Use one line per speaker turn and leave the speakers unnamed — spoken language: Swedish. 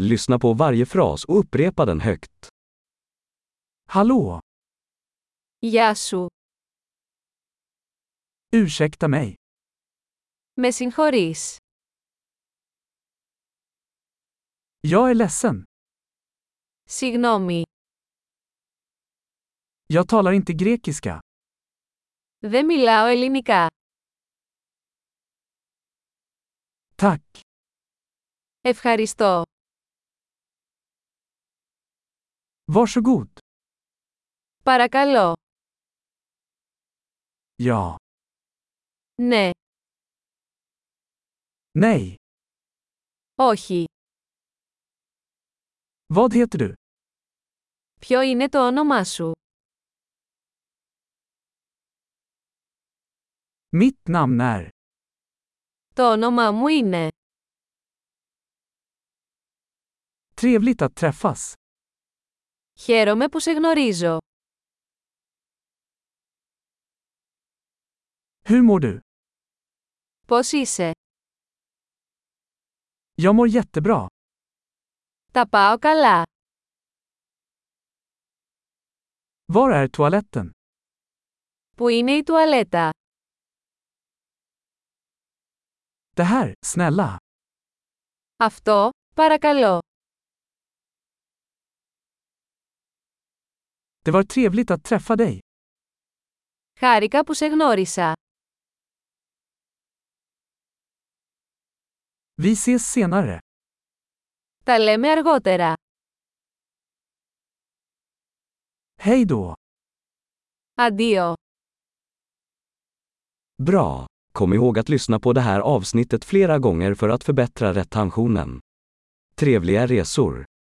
Lyssna på varje fras och upprepa den högt. Hallå!
Γεια σου.
Ursäkta mig.
Με συγχωρείς.
Jag är ledsen.
Συγγνώμη.
Jag talar inte grekiska.
Δεν μιλάω ελληνικά.
Tack.
Ευχαριστώ.
Varsågod.
Παρακαλώ.
Ja.
Ναι.
Nej.
Όχι.
Vad heter du?
Ποιο είναι το όνομά σου.
Mitt namn är.
Το όνομά μου είναι.
Trevligt att träffas.
Χαίρομαι που σε γνωρίζω.
Hur mår du?
Πώς είσαι.
Jag mår jättebra.
Τα πάω καλά.
Var är toaletten?
Πού είναι η τουαλέτα.
Det här, snälla.
Αυτό, παρακαλώ.
Det var trevligt att träffa dig.
Χάρηκα που σε γνώρισα.
Vi ses senare.
Τα λέμε αργότερα.
Hej då.
Αντίο.
Bra! Kom ihåg att lyssna på det här avsnittet flera gånger för att förbättra retentionen. Trevliga resor!